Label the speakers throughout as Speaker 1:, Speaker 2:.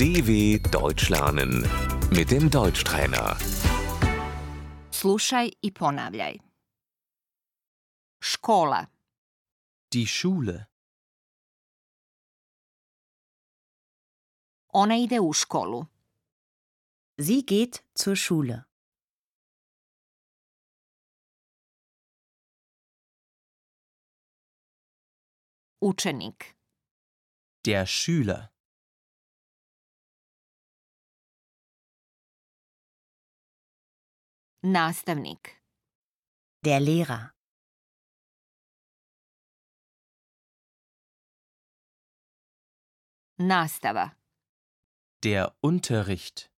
Speaker 1: DW Deutsch lernen mit dem Deutschtrainer.
Speaker 2: Slušaj i ponavljaj. Škola,
Speaker 3: Die Schule.
Speaker 2: ona ide u školu.
Speaker 4: Sie geht zur Schule.
Speaker 2: Učenik,
Speaker 3: Der Schüler.
Speaker 2: nastavnik,
Speaker 4: Der Lehrer.
Speaker 2: nastava,
Speaker 3: Der Unterricht.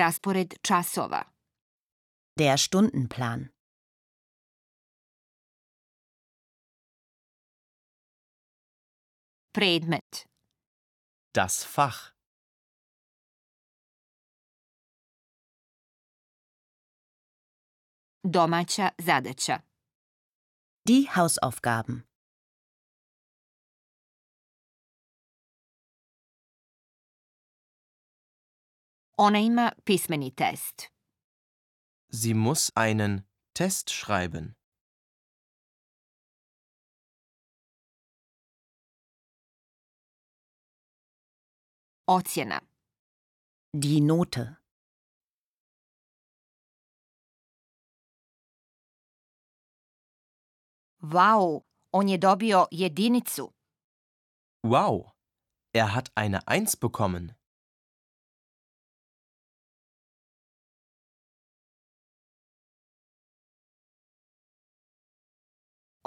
Speaker 2: raspored časova,
Speaker 4: Der Stundenplan.
Speaker 2: predmet,
Speaker 3: Das Fach.
Speaker 2: domaća zadaća,
Speaker 4: Die Hausaufgaben.
Speaker 2: ona ima pismeni test.
Speaker 3: Sie muss einen Test schreiben.
Speaker 2: Ocjena,
Speaker 4: Die Note.
Speaker 2: vau, on je dobio jedinicu.
Speaker 3: Wow. Er hat eine Eins bekommen.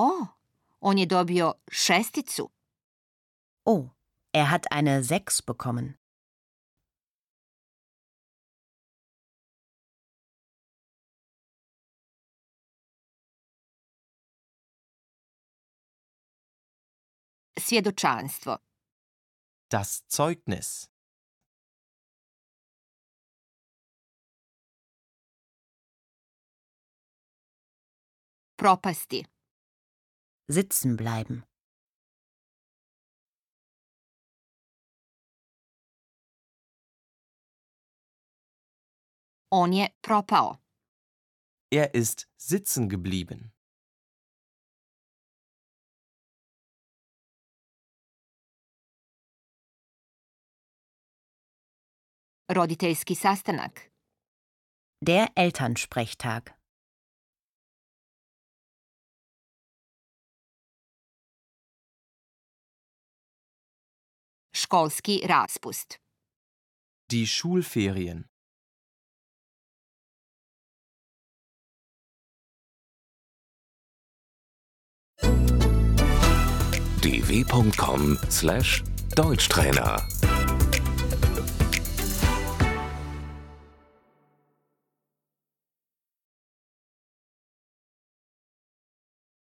Speaker 2: O, on je dobio šesticu.
Speaker 4: Oh, er hat eine 6 bekommen.
Speaker 2: Svjedočanstvo,
Speaker 3: Das Zeugnis.
Speaker 2: propasti,
Speaker 4: Sitzen bleiben.
Speaker 2: on je propao.
Speaker 3: Er ist sitzen geblieben.
Speaker 2: Roditeljski sastanak,
Speaker 4: Der Elternsprechtag.
Speaker 2: školski raspust.
Speaker 3: Die Schulferien.
Speaker 1: dw.com/deutschtrainer